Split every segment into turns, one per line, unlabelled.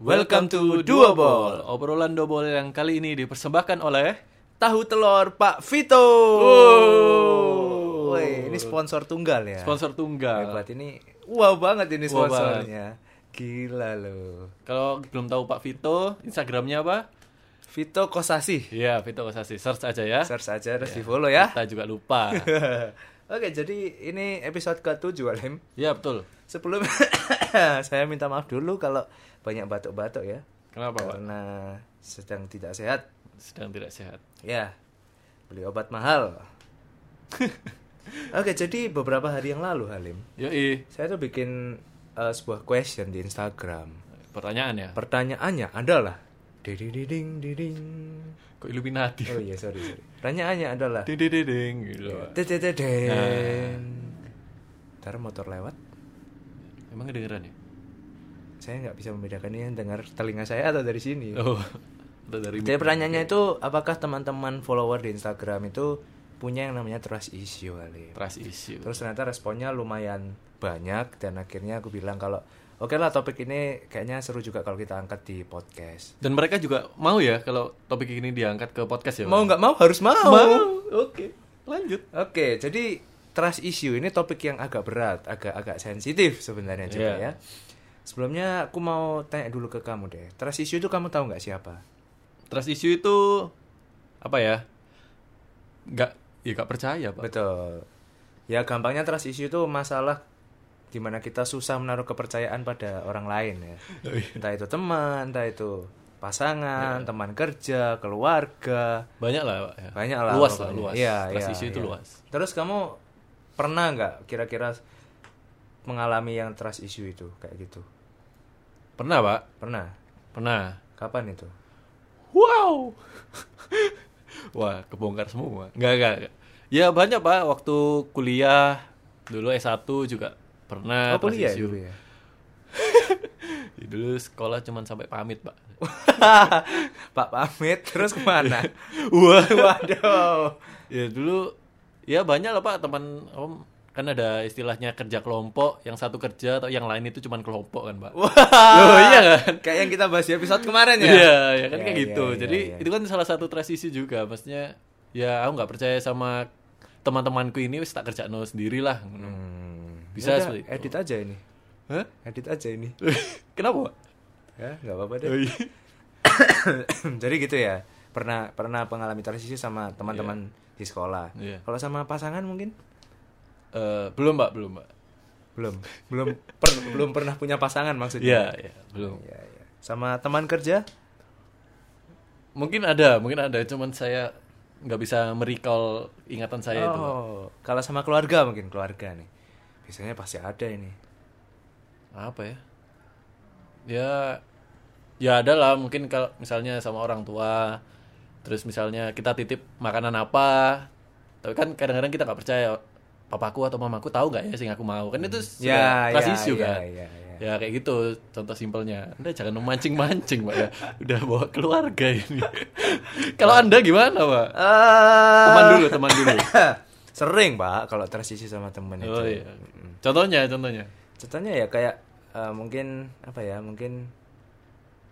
Welcome to Duo Ball.
Obrolan Duo Ball yang kali ini dipersembahkan oleh
Tahu telur Pak Vito.
Wow.
Woi, ini sponsor tunggal ya.
sponsor tunggal.
Hebat ini. Wow banget ini
Wow
sponsornya. Gila loh.
Kalau belum tahu Pak Vito, Instagramnya apa?
Vito Kosasi.
Iya, Vito Kasasi. Search aja ya.
Search aja terus di follow ya.
Kita juga lupa.
Oke, jadi ini episode ke-7 Alim.
Iya, betul.
Sebelum saya minta maaf dulu kalau banyak batuk-batuk ya.
Kenapa, Pak?
Karena sedang tidak sehat.
Sedang tidak sehat.
Ya, beli obat mahal. Oke, jadi beberapa hari yang lalu Halim,
Yoi.
saya tuh bikin eh, sebuah question di Instagram.
Pertanyaan ya.
Pertanyaannya adalah, didididing diding.
Kok Illuminati?
Oh iya, sorry sorry. Pertanyaannya adalah,
Ding ding ding, ding gitu.
tetededeng. Ntar motor lewat,
Emang kedengeran ya?
saya nggak bisa membedakan ini yang dengar telinga saya atau dari sini.
Oh. Atau dari
Iya. Jadi pertanyaannya itu, apakah teman-teman follower di Instagram itu punya yang namanya trust issue, Halim?
trust issue.
Terus ternyata responnya lumayan banyak dan akhirnya aku bilang kalau oke lah topik ini kayaknya seru juga kalau kita angkat di podcast.
Dan mereka juga mau ya kalau topik ini diangkat ke podcast ya. Pak?
Mau nggak mau harus mau.
Oke. Lanjut.
Oke, jadi trust issue ini topik yang agak berat, agak-agak sensitif sebenarnya juga
Iya.
ya. Sebelumnya aku mau tanya dulu ke kamu deh. Trust issue itu kamu tahu nggak siapa?
Trust issue itu apa ya? Nggak, ya nggak percaya pak.
Betul. Ya gampangnya trust issue itu masalah dimana kita susah menaruh kepercayaan pada orang lain ya.
Iya.
Entah itu teman, entah itu pasangan, teman kerja, keluarga,
Banyak lah pak. ya.
banyak lah.
Luas lah
pokoknya.
luas.
Iya,
Trust
iya,
issue itu
iya.
luas.
Terus kamu pernah nggak kira-kira mengalami yang trust issue itu kayak gitu?
Pernah pak?
Pernah?
Pernah.
Kapan itu?
Wow. Wah kebongkar semua. Nggak nggak. nggak. Ya banyak pak. Waktu kuliah dulu S1 juga pernah
Oh, kuliah ya
Eh, issue.
dulu ya.
Ya, dulu sekolah cuman sampai pamit pak.
Pak pamit terus kemana?
Wah.
Waduh.
ya dulu ya banyak lah pak teman om kan ada istilahnya kerja kelompok yang satu kerja atau yang lain itu cuman kelompok kan pak Loh, iya kan?
Kayak yang kita bahas di episode kemarin ya.
Iya, ya kan kayak
Iya,
gitu.
iya,
Jadi
iya.
itu kan salah satu transisi juga. Maksudnya ya aku nggak percaya sama teman-temanku ini wis tak kerja no sendiri lah.
Hmm.
Bisa
Yaudah,
seperti itu.
edit aja ini.
Hah?
Edit aja ini.
Kenapa? Pak?
Ya, nggak apa-apa
Oh,
deh.
Iya.
Jadi gitu ya. Pernah pernah mengalami transisi sama teman-teman di sekolah.
Iya.
Kalau sama pasangan mungkin
Eh, belum, Pak, belum, Pak.
belum belum per- belum pernah punya pasangan maksudnya.
Iya, iya, belum.
Iya, iya. Sama teman kerja?
Mungkin ada, mungkin ada, cuman saya nggak bisa merecall ingatan saya itu. Pak.
oh, kalau sama keluarga mungkin keluarga nih. Biasanya pasti ada ini.
Apa ya? Ya ya ada lah mungkin kalau misalnya sama orang tua terus misalnya kita titip makanan apa tapi kan kadang-kadang kita nggak percaya papaku atau mamaku tahu nggak ya sing aku mau kan itu sudah
Ya,
trust
ya,
issue
ya,
kan
ya, ya.
ya kayak gitu contoh simpelnya anda jangan memancing-mancing pak ya udah bawa keluarga ini kalau anda gimana pak teman
Eh.
dulu teman dulu
Ah. Sering, Pak, kalau transisi sama temen itu.
oh iya contohnya contohnya
contohnya ya kayak eh, mungkin apa ya mungkin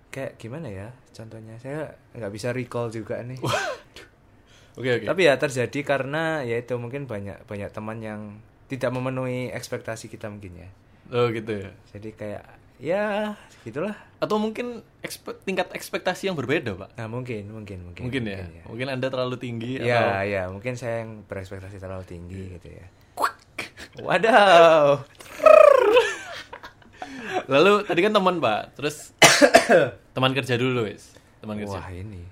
kayak gimana ya contohnya saya nggak bisa recall juga nih
oke oke
tapi ya terjadi karena ya itu mungkin banyak banyak teman yang tidak memenuhi ekspektasi kita mungkin ya
oh gitu ya
jadi kayak ya gitulah
atau mungkin ekspe- tingkat ekspektasi yang berbeda pak
nah mungkin mungkin mungkin
mungkin ya mungkin anda terlalu tinggi atau
ya
Iya.
ya mungkin saya yang berekspektasi terlalu tinggi gitu ya Waduh,
lalu tadi kan teman pak terus teman kerja dulu wis teman kerja
wah ini.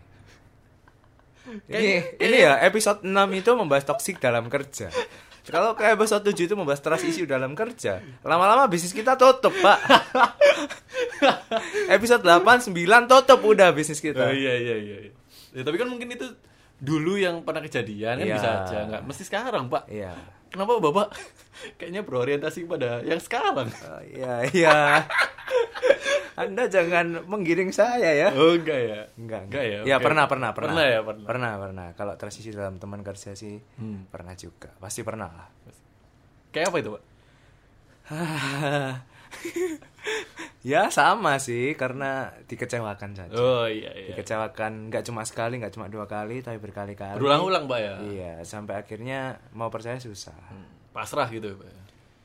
Ini, ini ya episode 6 itu membahas toksik dalam kerja. Kalau ke episode 7 itu membahas trust issue dalam kerja. Lama-lama bisnis kita tutup, Pak. episode 8, 9 tutup udah bisnis
oh,
kita.
iya iya iya iya. ya, tapi kan mungkin itu dulu yang pernah kejadian kan
Iya.
bisa aja nggak mesti sekarang pak
Iya.
kenapa bapak kayaknya berorientasi pada yang sekarang
Oh, Iya, iya. Anda jangan menggiring saya ya.
oh enggak ya
Enggak,
enggak ya
Ya
oke.
pernah, pernah, pernah.
pernah ya pernah Hmm.
Pernah, pernah. Kalau trust issue dalam teman kerja sih pernah juga. Pasti pernah lah.
kayak apa itu pak
ya sama sih karena dikecewakan saja
Oh iya iya.
dikecewakan nggak cuma sekali nggak cuma dua kali tapi berkali-kali
Berulang-ulang pak ya.
iya sampai akhirnya mau percaya susah
Pasrah gitu pak. ya?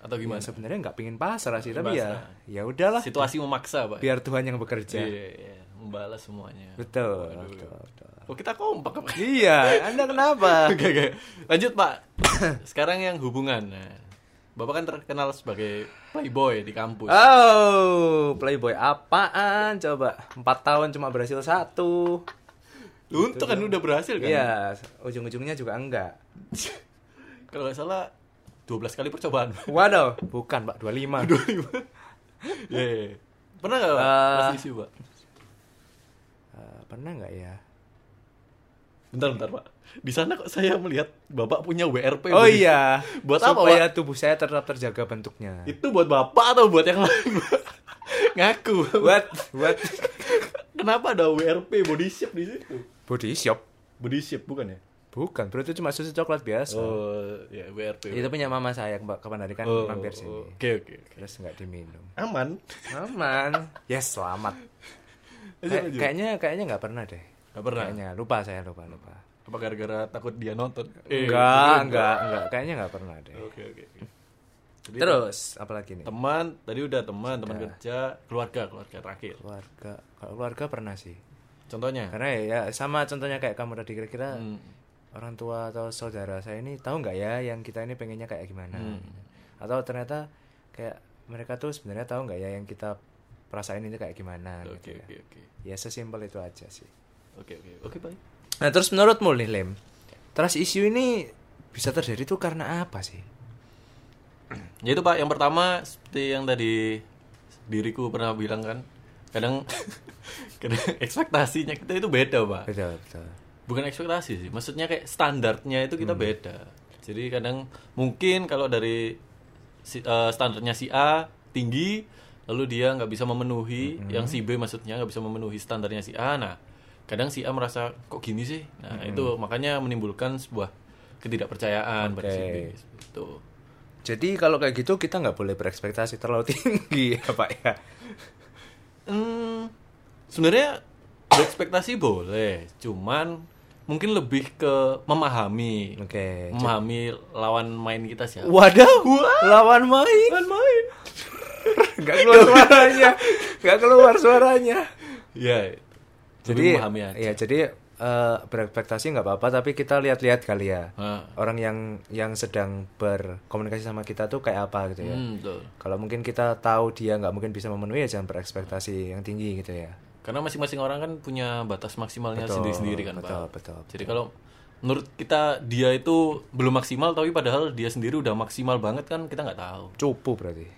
Atau
Ya,
gimana?
sebenarnya nggak pingin pasrah sih tapi ya
Pasrah.
ya udahlah
Situasi memaksa pak. ya?
biar Tuhan yang bekerja
Iya iya. Membalas semuanya.
betul, betul, betul.
Oh kita kompak pak.
iya anda kenapa
Oke, oke. Lanjut Pak. Sekarang yang hubungan. Nah, Bapak kan terkenal sebagai playboy di
Ah,
kampus.
Oh, playboy apaan? Coba empat tahun cuma berhasil satu.
Untuk kan udah berhasil kan?
Iya, ujung-ujungnya juga enggak.
Kalau nggak salah 12 kali percobaan.
Waduh, bukan Pak 25.
Iya, iya. Pernah nggak Pak?
Eh.
Pas isu Pak.
Eh, pernah nggak ya?
Bentar, bentar Pak. Di sana kok saya melihat Bapak punya WRP.
Oh
Pak?
iya,
Buat apa,
supaya tubuh saya tetap terjaga bentuknya.
Itu buat Bapak atau buat yang lain? Pak? Ngaku.
Buat buat
Kenapa ada WRP body shape di situ?
body shop.
Body shape bukan ya?
Bukan, bro itu cuma susu coklat biasa.
Oh, ya WRP.
Itu punya mama saya ke- kapan hari kan
Oh,
mampir sini.
Oke, oke. oke.
Terus nggak diminum.
Aman.
Aman. Yes, selamat. Kayak-
Lanjut, lanjut.
kayaknya kayaknya nggak pernah deh.
Nggak pernah?
Kayaknya lupa saya lupa lupa.
Apa gara-gara takut dia nonton? Eh,
enggak, enggak, enggak. Kayaknya enggak pernah deh.
Oke, oke. oke. Jadi
Terus, apalagi nih?
teman, tadi udah teman, teman kerja, keluarga, keluarga terakhir.
Keluarga. Kalau keluarga pernah sih.
Contohnya?
Karena ya, ya sama contohnya kayak kamu tadi kira-kira
Hmm.
orang tua atau saudara saya ini tahu nggak ya yang kita ini pengennya kayak gimana? gitu. Atau ternyata kayak mereka tuh sebenarnya tahu nggak ya yang kita perasain ini kayak gimana? gitu
Oke,
ya.
oke, oke.
Ya sesimpel itu aja sih.
Oke, oke. Oke, baik.
Nah, terus menurutmu nih, Lem, trust issue ini bisa terjadi tuh karena apa sih?
Ya itu Pak, yang pertama seperti yang tadi diriku pernah bilang kan, kadang kadang ekspektasinya kita itu beda, Pak.
Ah. Betul, betul.
bukan ekspektasi sih maksudnya kayak standarnya itu kita beda jadi kadang mungkin kalau dari si- eh, standarnya si A tinggi lalu dia nggak bisa memenuhi yang si B maksudnya nggak bisa memenuhi standarnya si A nah kadang si A merasa kok gini sih nah itu makanya menimbulkan sebuah ketidakpercayaan pada si B Gitu. itu
Jadi kalau kayak gitu kita nggak boleh berekspektasi terlalu tinggi ya Pak ya.
hmm, sebenarnya berekspektasi boleh cuman mungkin lebih ke memahami
Oke.
memahami lawan main kita siapa
Waduh, lawan main.
Lawan main.
Nggak keluar suaranya. Nggak keluar suaranya.
Iya. Jadi
Jadi,
memahami aja.
ya jadi eh, berekspektasi nggak apa-apa tapi kita lihat-lihat kali ya.
Ah.
Orang yang yang sedang berkomunikasi sama kita tuh kayak apa gitu ya.
Hmm, betul.
Kalau mungkin kita tahu dia nggak mungkin bisa memenuhi ya jangan berekspektasi yang tinggi gitu ya.
Karena masing-masing orang kan punya batas maksimalnya sendiri-sendiri kan,
Oh, betul,
Pak.
betul.
Jadi kalau menurut kita dia itu belum maksimal tapi padahal dia sendiri udah maksimal banget kan kita nggak tahu.
Cupu berarti.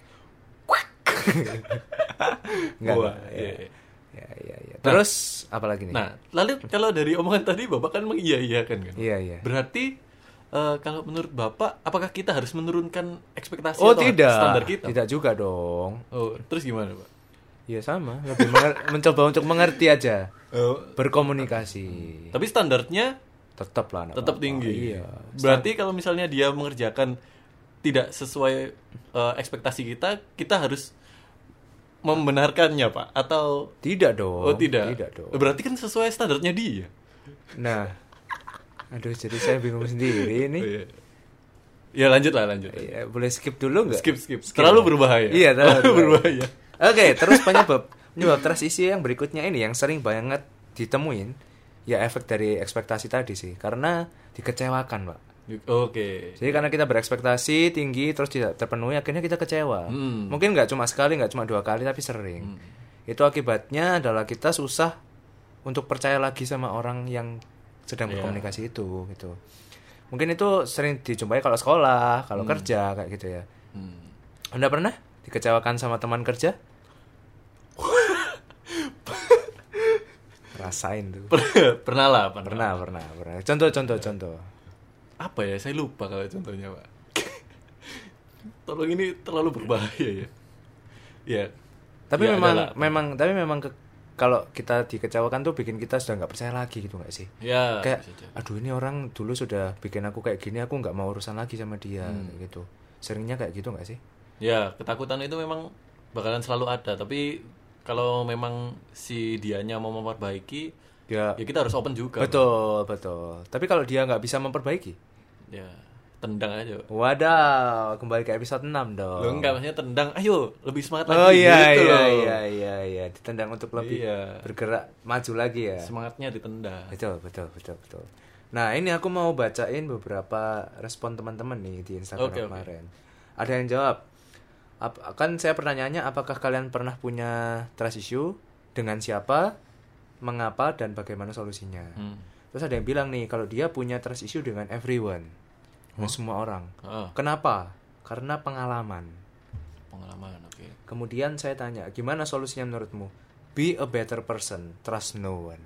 Enggak.
Wah,
enggak,
iya, iya.
ya. Ya, ya, ya. Terus apa lagi nih?
Nah, lalu kalau dari omongan tadi Bapak kan mengiya-iyakan kan.
Iya, iya.
Berarti eh, kalau menurut Bapak apakah kita harus menurunkan ekspektasi
Oh,
atau
tidak.
standar kita?
Tidak juga dong.
Oh, terus gimana, Pak?
Ya sama, lebih menger- mencoba untuk mengerti aja.
Oh,
Berkomunikasi.
tapi standarnya
Tetap lah anak
tetap
bapak.
tinggi.
Iya.
Berarti kalau misalnya dia mengerjakan tidak sesuai eh, ekspektasi kita, kita harus membenarkannya, Pak, atau
Tidak dong.
oh, tidak.
Tidak dong.
Berarti kan sesuai standarnya dia.
Nah. Aduh, jadi saya bingung sendiri ini.
Oh, iya. Ya lanjut lah, lanjut.
Ya, boleh skip dulu nggak?
Skip, skip. Terlalu berbahaya.
Iya, terlalu
berbahaya.
Oke, terus penyebab penyebab trust issue yang berikutnya ini yang sering banget ditemuin ya efek dari ekspektasi tadi sih, karena dikecewakan, Pak.
Oke.
Jadi karena kita berekspektasi tinggi terus tidak terpenuhi akhirnya kita kecewa.
Hmm.
Mungkin nggak cuma sekali, nggak cuma dua kali tapi sering. Itu akibatnya adalah kita susah untuk percaya lagi sama orang yang sedang
Iya.
berkomunikasi itu gitu. Mungkin itu sering dijumpai kalau sekolah, kalau kerja kayak gitu ya.
Hmm.
Anda pernah dikecewakan sama teman kerja? Rasain tuh.
Per- pernah lah, pernah.
Pernah, pernah, pernah. Contoh, contoh,
Ya.
contoh.
Apa ya? Saya lupa kalau contohnya, Pak. Tolong ini terlalu berbahaya ya. Ya.
Tapi
Ya,
memang,
adalah.
memang, tapi memang ke- kalau kita dikecewakan tuh bikin kita sudah nggak percaya lagi gitu nggak sih?
Ya,
Kayak,
bisa jadi.
aduh ini orang dulu sudah bikin aku kayak gini, aku
Hmm.
nggak mau urusan lagi sama dia kayak gitu. Seringnya kayak gitu nggak sih?
Ya, ketakutan itu memang bakalan selalu ada tapi kalau memang si dianya mau memperbaiki
Dia
ya kita harus open juga
betul betul. Tapi kalau dia nggak bisa memperbaiki,
ya tendang aja
wadaw kembali ke episode 6 dong.
lo enggak maksudnya tendang ayo lebih semangat lagi
Oh iya
gitu
iya
loh.
iya iya iya ditendang untuk lebih
Iya.
bergerak maju lagi ya.
semangatnya ditendang
Betul betul betul betul. Nah ini aku mau bacain beberapa respon teman-teman nih di Instagram
Oke, oke.
kemarin. Ada yang jawab. Ap- kan saya pertanyaannya apakah kalian pernah punya trust issue dengan siapa, mengapa dan bagaimana solusinya.
Hmm.
Terus ada yang bilang nih kalau dia punya trust issue dengan everyone, dengan semua orang.
Ah,
Kenapa? Karena pengalaman.
pengalaman oke
Kemudian saya tanya, gimana solusinya menurutmu? Be a better person, trust no one.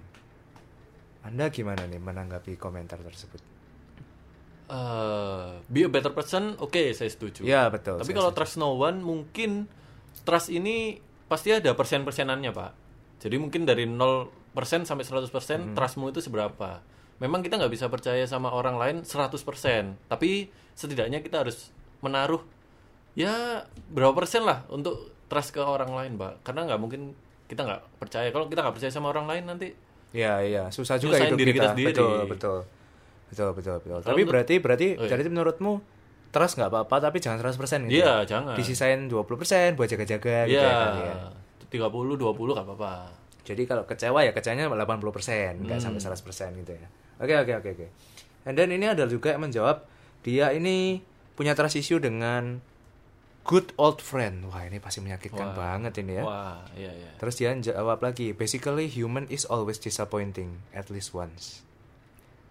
Anda gimana nih menanggapi komentar tersebut?
Eh, be a better person oke saya setuju
Ya betul.
Tapi
saya
kalau
setuju.
trust no one mungkin trust ini pasti ada persen-persenannya, Pak. Jadi mungkin dari 0% sampai 100%
Hmm.
trustmu itu seberapa. Memang kita nggak bisa percaya sama orang lain 100%, tapi setidaknya kita harus menaruh ya berapa persen lah untuk trust ke orang lain, Pak. Karena nggak mungkin kita nggak percaya. Kalau kita nggak percaya sama orang lain nanti
ya iya susah juga
Nyusahin
hidup
diri kita
kita.
sendiri.
Betul betul betul betul betul.
Kalau
tapi
menurut-
berarti berarti
Oh, iya.
jadi menurutmu trust nggak apa-apa tapi jangan 100% persen gitu.
Iya, jangan.
Disisain 20% buat jaga-jaga gitu ya. kan, ya.
ya 30 20 nggak apa-apa.
Jadi kalau kecewa ya kecewanya 80 persen, nggak sampai 100 persen gitu ya. Oke oke oke oke. And then ini ada juga yang menjawab dia ini punya trust issue dengan good old friend. Wah ini pasti menyakitkan banget ini ya.
Wah, iya iya.
Terus dia jawab lagi, basically human is always disappointing at least once.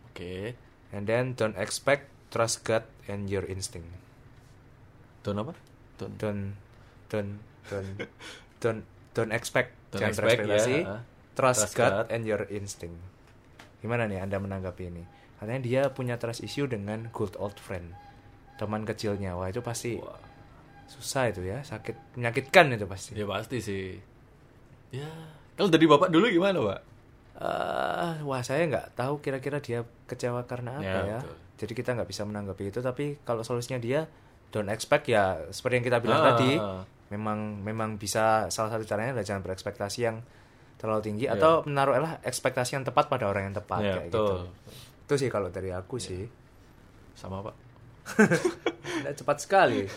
Oke.
And then don't expect trust God and your instinct.
Don apa? Don
Don't don't don't don't don't expect
Don't
jangan
expect,
berekspektasi.
ya.
Trust,
Trust
God,
God.
and your instinct. Gimana nih Anda menanggapi ini? Katanya dia punya trust issue dengan good old friend. Teman kecilnya. Wah, itu pasti
Wah.
susah itu ya, sakit menyakitkan itu pasti.
Ya pasti sih. Ya, kalau dari bapak dulu gimana, Pak?
Eh, wah, saya nggak tahu kira-kira dia kecewa karena apa
Ya,
ya.
betul.
Jadi kita nggak bisa menanggapi itu, tapi kalau solusinya dia don't expect ya seperti yang kita bilang
Ah,
tadi.
ah.
Memang memang bisa salah satu caranya adalah jangan berekspektasi yang terlalu tinggi atau menaruhlah ekspektasi yang tepat pada orang yang tepat
Ya,
kayak gitu.
betul. Ya.
Itu sih kalau dari aku sih.
Sama, Pak.
Anda cepat sekali.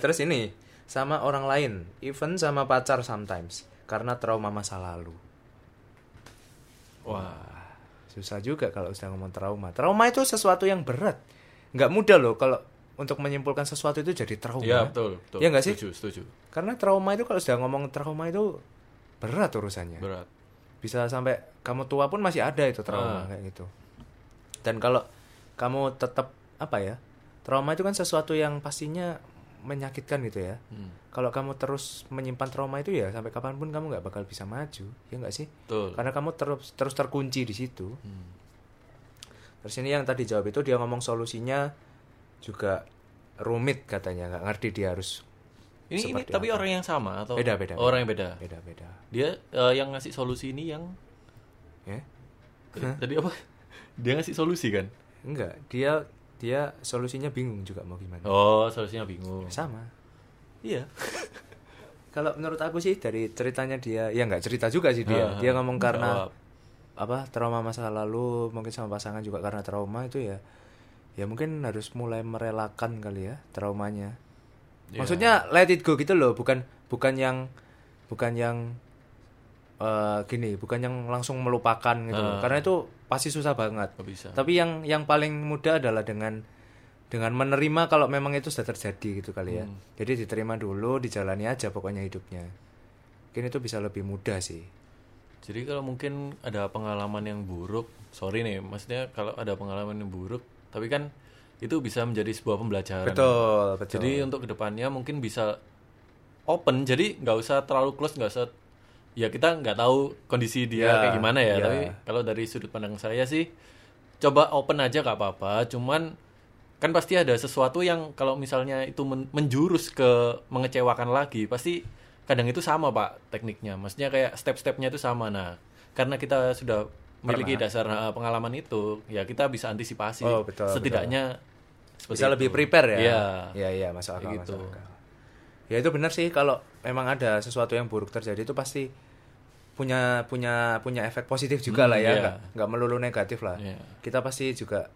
Terus ini sama orang lain, even sama pacar sometimes karena trauma masa lalu.
Wah.
Susah juga kalau sudah ngomong trauma. Trauma itu sesuatu yang berat. Nggak mudah loh kalau untuk menyimpulkan sesuatu itu jadi trauma.
Ya, betul, betul.
Iya nggak sih?
Setuju, setuju.
Karena trauma itu kalau sudah ngomong trauma itu berat urusannya.
Berat.
Bisa sampai kamu tua pun masih ada itu
Ah.
trauma kayak gitu. Dan kalau kamu tetap apa ya? Trauma itu kan sesuatu yang pastinya menyakitkan gitu ya.
Hmm,
Kalau kamu terus menyimpan trauma itu ya sampai kapanpun kamu nggak bakal bisa maju, ya nggak sih?
betul.
Karena kamu terus terus terkunci di situ.
Hmm.
Terus ini yang tadi jawab itu dia ngomong solusinya juga rumit katanya, nggak ngerti dia harus
Ini ini
seperti
tapi
apa.
orang yang sama atau
Beda, beda,
orang yang beda.
beda-beda.
Dia eh, yang ngasih solusi ini yang
Ya?
tadi apa? Dia ngasih solusi kan?
Enggak, dia dia solusinya bingung juga mau gimana.
Oh, solusinya bingung.
Sama.
Iya.
Kalau menurut aku sih dari ceritanya dia ya nggak cerita juga sih
Ah,
dia. dia ngomong karena
jawab.
apa trauma masa lalu mungkin sama pasangan juga karena trauma itu ya ya mungkin harus mulai merelakan kali ya traumanya maksudnya let it go gitu loh bukan bukan yang bukan yang eh, gini bukan yang langsung melupakan gitu loh. karena itu pasti susah banget
Nggak bisa.
tapi yang yang paling mudah adalah dengan dengan menerima kalau memang itu sudah terjadi gitu kali ya jadi diterima dulu dijalani aja pokoknya hidupnya mungkin itu bisa lebih mudah sih
Jadi kalau mungkin ada pengalaman yang buruk, sorry nih, maksudnya kalau ada pengalaman yang buruk, tapi kan itu bisa menjadi sebuah pembelajaran.
betul betul
Jadi untuk kedepannya mungkin bisa open, jadi nggak usah terlalu close, nggak usah. Ya kita nggak tahu kondisi dia
Ya,
kayak gimana ya,
ya.
tapi kalau dari sudut pandang saya sih, coba open aja nggak apa-apa. Cuman kan pasti ada sesuatu yang kalau misalnya itu men- menjurus ke mengecewakan lagi, pasti kadang itu sama pak tekniknya. Maksudnya kayak step-stepnya itu sama. Nah karena kita sudah memiliki dasar eh, pengalaman itu, ya kita bisa antisipasi.
Oh, betul, betul.
Setidaknya seperti
bisa
itu.
lebih prepare ya
Iya.
iya iya masuk akal
Kayak gitu.
masuk akal ya itu benar sih kalau memang ada sesuatu yang buruk terjadi itu pasti punya punya punya efek positif juga lah
iya.
ya nggak nggak melulu negatif lah
Iya.
kita pasti juga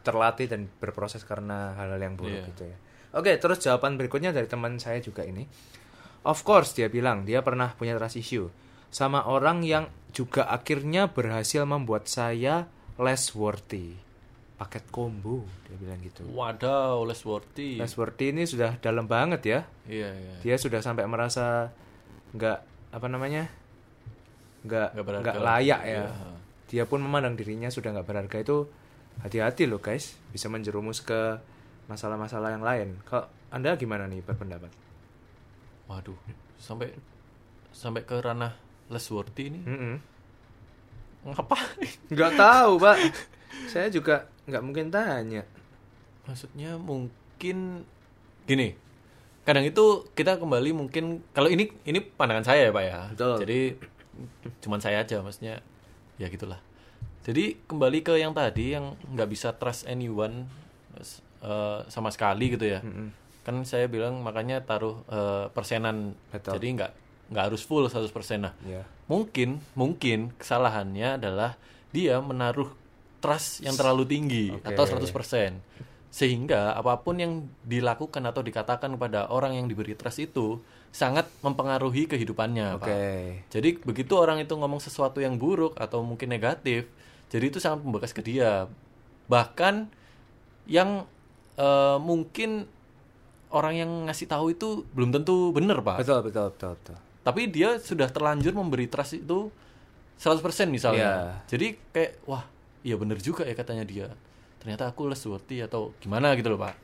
terlatih dan berproses karena hal-hal yang
Iya.
buruk gitu ya oke terus jawaban berikutnya dari teman saya juga ini of course dia bilang dia pernah punya trust issue sama orang yang juga akhirnya berhasil membuat saya less worthy paket combo dia bilang gitu
Wadaw, less worthy.
less worthy ini sudah dalam banget ya
Iya, iya.
dia sudah sampai merasa nggak apa namanya nggak
Nggak berharga
nggak
lah.
layak ya
Iya.
dia pun memandang dirinya sudah nggak berharga itu hati-hati loh guys bisa menjerumus ke masalah-masalah yang lain kalau anda gimana nih berpendapat
Waduh, sampai sampai ke ranah less worthy ini.
Mm-mm.
Ngapain?
nggak tahu pak saya juga nggak mungkin tanya
Maksudnya mungkin gini. Kadang itu kita kembali mungkin kalau ini ini pandangan saya ya, Pak ya.
Betul.
Jadi cuman saya aja maksudnya ya gitulah. Jadi kembali ke yang tadi yang nggak bisa trust anyone s- eh, sama sekali gitu ya. Kan saya bilang makanya taruh eh, persenan.
Betul.
Jadi nggak nggak harus full 100% nah.
ya
Mungkin mungkin kesalahannya adalah dia menaruh trust yang terlalu tinggi
Oke.
atau 100%. Sehingga apapun yang dilakukan atau dikatakan kepada orang yang diberi trust itu sangat mempengaruhi kehidupannya,
oke
Pak. Jadi begitu orang itu ngomong sesuatu yang buruk atau mungkin negatif, jadi itu sangat membekas ke dia. Bahkan yang eh, mungkin orang yang ngasih tahu itu belum tentu benar, Pak
betul betul betul betul
tapi dia sudah terlanjur memberi trust itu 100%
Iya.
misalnya. Jadi kayak wah, iya bener juga ya katanya dia. Ternyata aku less worthy atau gimana gitu loh, Pak.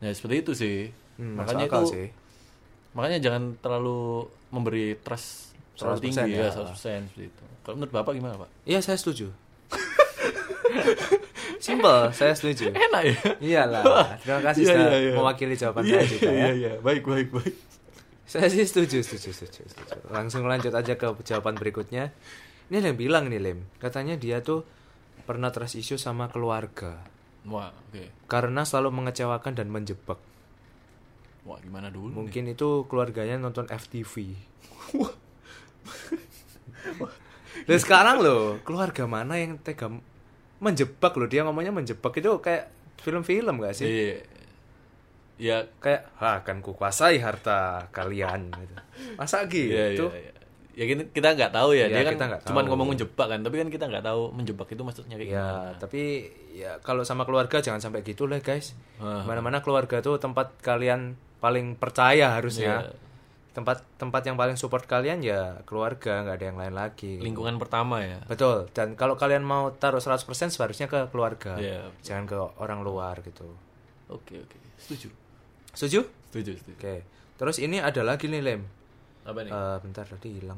Nah, seperti itu sih.
Hmm, masuk
makanya
akal
itu
sih.
makanya jangan terlalu memberi trust terlalu
100%
tinggi ya,
ya.
100% seperti itu. Kalau menurut Bapak gimana, Pak?
Iya saya setuju. Simple, saya setuju.
Enak ya?
Iyalah, Nah, terima kasih
Iya,
sudah
iya, iya.
mewakili jawaban
Iya,
saya juga
iya,
ya.
iya, iya. Baik, baik, baik.
Saya sih setuju, setuju, setuju, setuju. Langsung lanjut aja ke jawaban berikutnya. Ini ada yang bilang nih Lem, katanya dia tuh pernah trust issue sama keluarga
Wah, oke.
karena selalu mengecewakan dan menjebak.
Wah, gimana dulu?
Mungkin itu keluarganya nonton FTV. Dan sekarang loh, keluarga mana yang tega menjebak loh? Dia ngomongnya menjebak itu kayak film-film gak sih?
Iya. Ya,
Kayak, "Ha, akan kukuasai harta kalian." gitu. Masa gitu?
Iya, iya, iya. Ya gini, kita nggak tahu Iya. ya.
Iya,
Dia kan
kita nggak
cuman
tahu.
ngomong menjebak kan, tapi kan kita nggak tahu menjebak itu maksudnya kayak
Ya,
gimana.
tapi ya kalau sama keluarga jangan sampai gitu lah guys.
Heeh.
Mana-mana keluarga tuh tempat kalian paling percaya harusnya.
Iya.
Tempat tempat yang paling support kalian ya keluarga, nggak ada yang lain lagi.
Lingkungan pertama ya.
Betul. Dan kalau kalian mau taruh 100% seharusnya ke keluarga.
Iya.
Jangan ke orang luar gitu.
Oke, oke. Setuju.
Setuju?
Setuju, setuju.
Oke. Terus ini ada lagi nih Lem.
Apa nih?
Eh, bentar tadi hilang.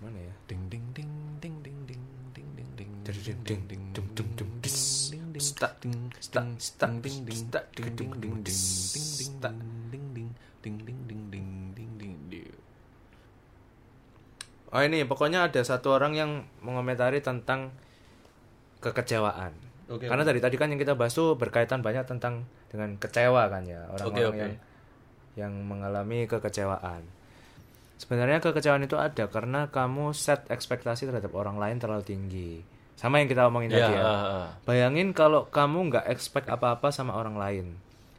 Mana ya?
Ding ding ding ding ding ding ding ding ding
Ding, ding, ding, ding, dum, dum, dum, dis,
ding, ding,
stak,
ding,
stak,
ding,
stak,
ding, ding, ding,
stak,
ding, ding, ding,
gedung, gedung,
ding,
dis,
ding, ding,
stak.
ding, ding, ding, ding, ding, ding, ding, ding, ding.
Oh ini pokoknya ada satu orang yang mengomentari tentang kekecewaan.
Oke,
Karena dari tadi kan yang kita bahas tuh berkaitan banyak tentang dengan kecewa kan ya orang-orang
Oke, oke.
yang yang mengalami kekecewaan. Sebenarnya kekecewaan itu ada karena kamu set ekspektasi terhadap orang lain terlalu tinggi. Sama yang kita omongin
Ya,
tadi ya.
ah, ah.
Bayangin kalau kamu nggak expect apa-apa sama orang lain.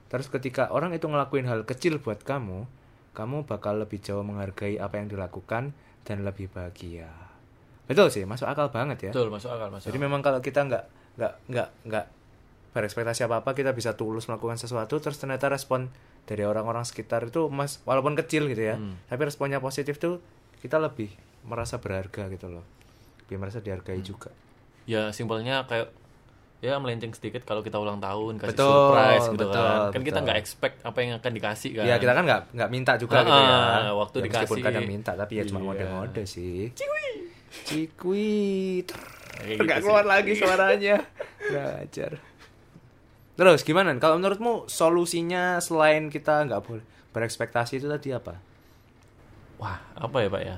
Terus ketika orang itu ngelakuin hal kecil buat kamu, kamu bakal lebih jauh menghargai apa yang dilakukan dan lebih bahagia. Betul sih, masuk akal banget ya.
Betul, masuk akal, masuk
Jadi
akal.
memang kalau kita nggak nggak nggak nggak berekspektasi apa-apa, kita bisa tulus melakukan sesuatu. Terus ternyata respon dari orang-orang sekitar itu, mas walaupun kecil gitu ya, tapi responnya positif tuh kita lebih merasa berharga gitu loh, lebih merasa dihargai juga.
ya simpelnya kayak ya melenceng sedikit kalau kita ulang tahun kasih
Betul,
surprise gitu
betul,
kan kan kita
betul.
nggak expect apa yang akan dikasih kan
Ya kita kan nggak nggak minta juga
Ah,
gitu ya.
ah, waktu
ya, meskipun
dikasih.
kadang minta tapi ya cuma
Iya.
ngode-ngode sih. Cikui. Cikui.
Kayak
Enggak
gitu
keluar lagi suaranya. Nggak ajar. Terus gimana? Kalau menurutmu solusinya selain kita nggak boleh berekspektasi itu tadi apa?
wah apa ya pak ya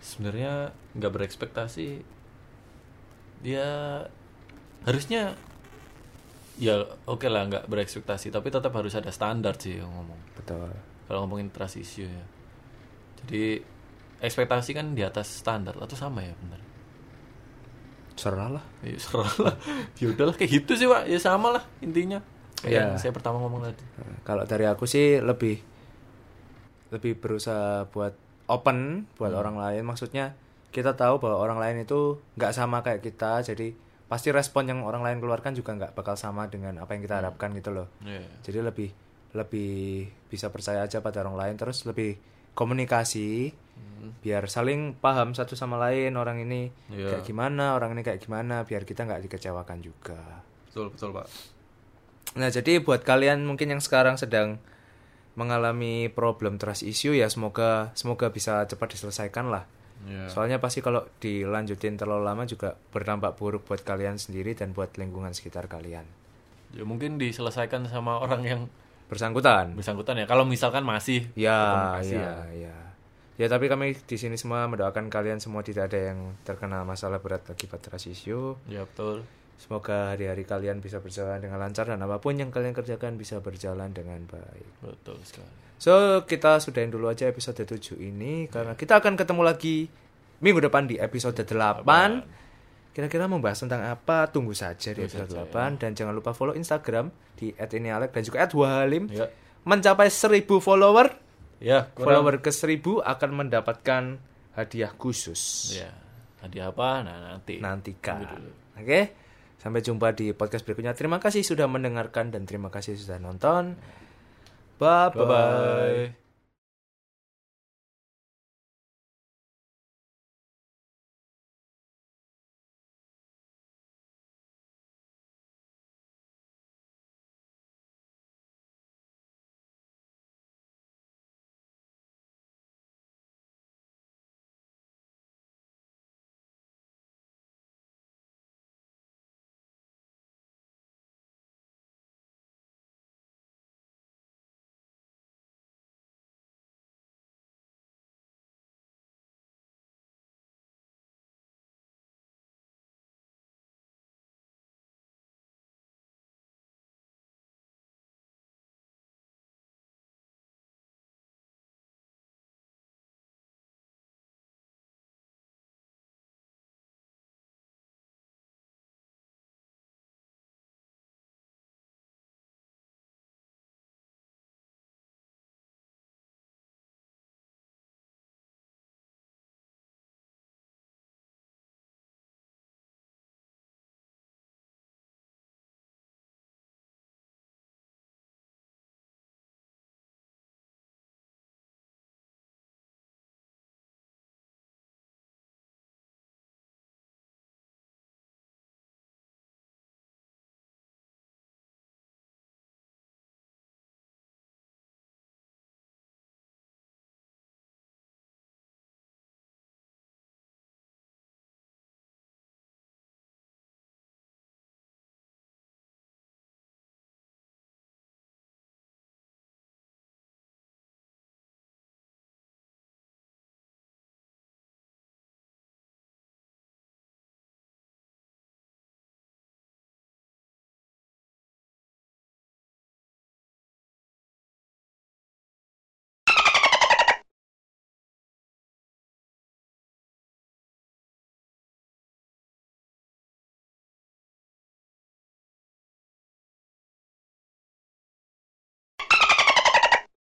sebenarnya nggak berekspektasi dia harusnya ya oke lah nggak berekspektasi tapi tetap harus ada standar sih yang ngomong
betul
kalau ngomongin trust issue ya jadi ekspektasi kan di atas standar atau sama ya bener
serah lah
ya serah lah ya udahlah kayak gitu sih pak ya sama lah intinya kayak yang
Iya.
saya pertama ngomong tadi
Nah, kalau dari aku sih lebih lebih berusaha buat open buat orang lain maksudnya kita tahu bahwa orang lain itu nggak sama kayak kita jadi pasti respon yang orang lain keluarkan juga nggak bakal sama dengan apa yang kita harapkan gitu loh
Iya.
jadi lebih lebih bisa percaya aja pada orang lain terus lebih komunikasi biar saling paham satu sama lain orang ini
Iya.
kayak gimana orang ini kayak gimana biar kita nggak dikecewakan juga
betul betul pak
Nah, jadi buat kalian mungkin yang sekarang sedang mengalami problem trust issue ya semoga semoga bisa cepat diselesaikan lah.
Iya.
Soalnya pasti kalau dilanjutin terlalu lama juga berdampak buruk buat kalian sendiri dan buat lingkungan sekitar kalian.
ya mungkin diselesaikan sama orang yang
Bersangkutan.
bersangkutan ya kalau misalkan masih
Ya, ya, ya. Ya, tapi kami di sini semua mendoakan kalian semua tidak ada yang terkena masalah berat akibat trust issue.
ya betul
Semoga hari-hari kalian bisa berjalan dengan lancar dan apapun yang kalian kerjakan bisa berjalan dengan baik.
betul sekali
So, kita sudahin dulu aja episode 7 ini karena kita akan ketemu lagi minggu depan di episode 8. Kira-kira membahas tentang apa? Tunggu saja di episode 8 dan jangan lupa follow Instagram di @inialek dan juga @wahalim.
ya
Mencapai 1000 follower,
ya kurang
follower ke 1000 akan mendapatkan hadiah khusus.
ya hadiah apa nah nanti
Nantikan. Oke? Sampai jumpa di podcast berikutnya. Terima kasih sudah mendengarkan dan terima kasih sudah nonton. Bye bye.
bye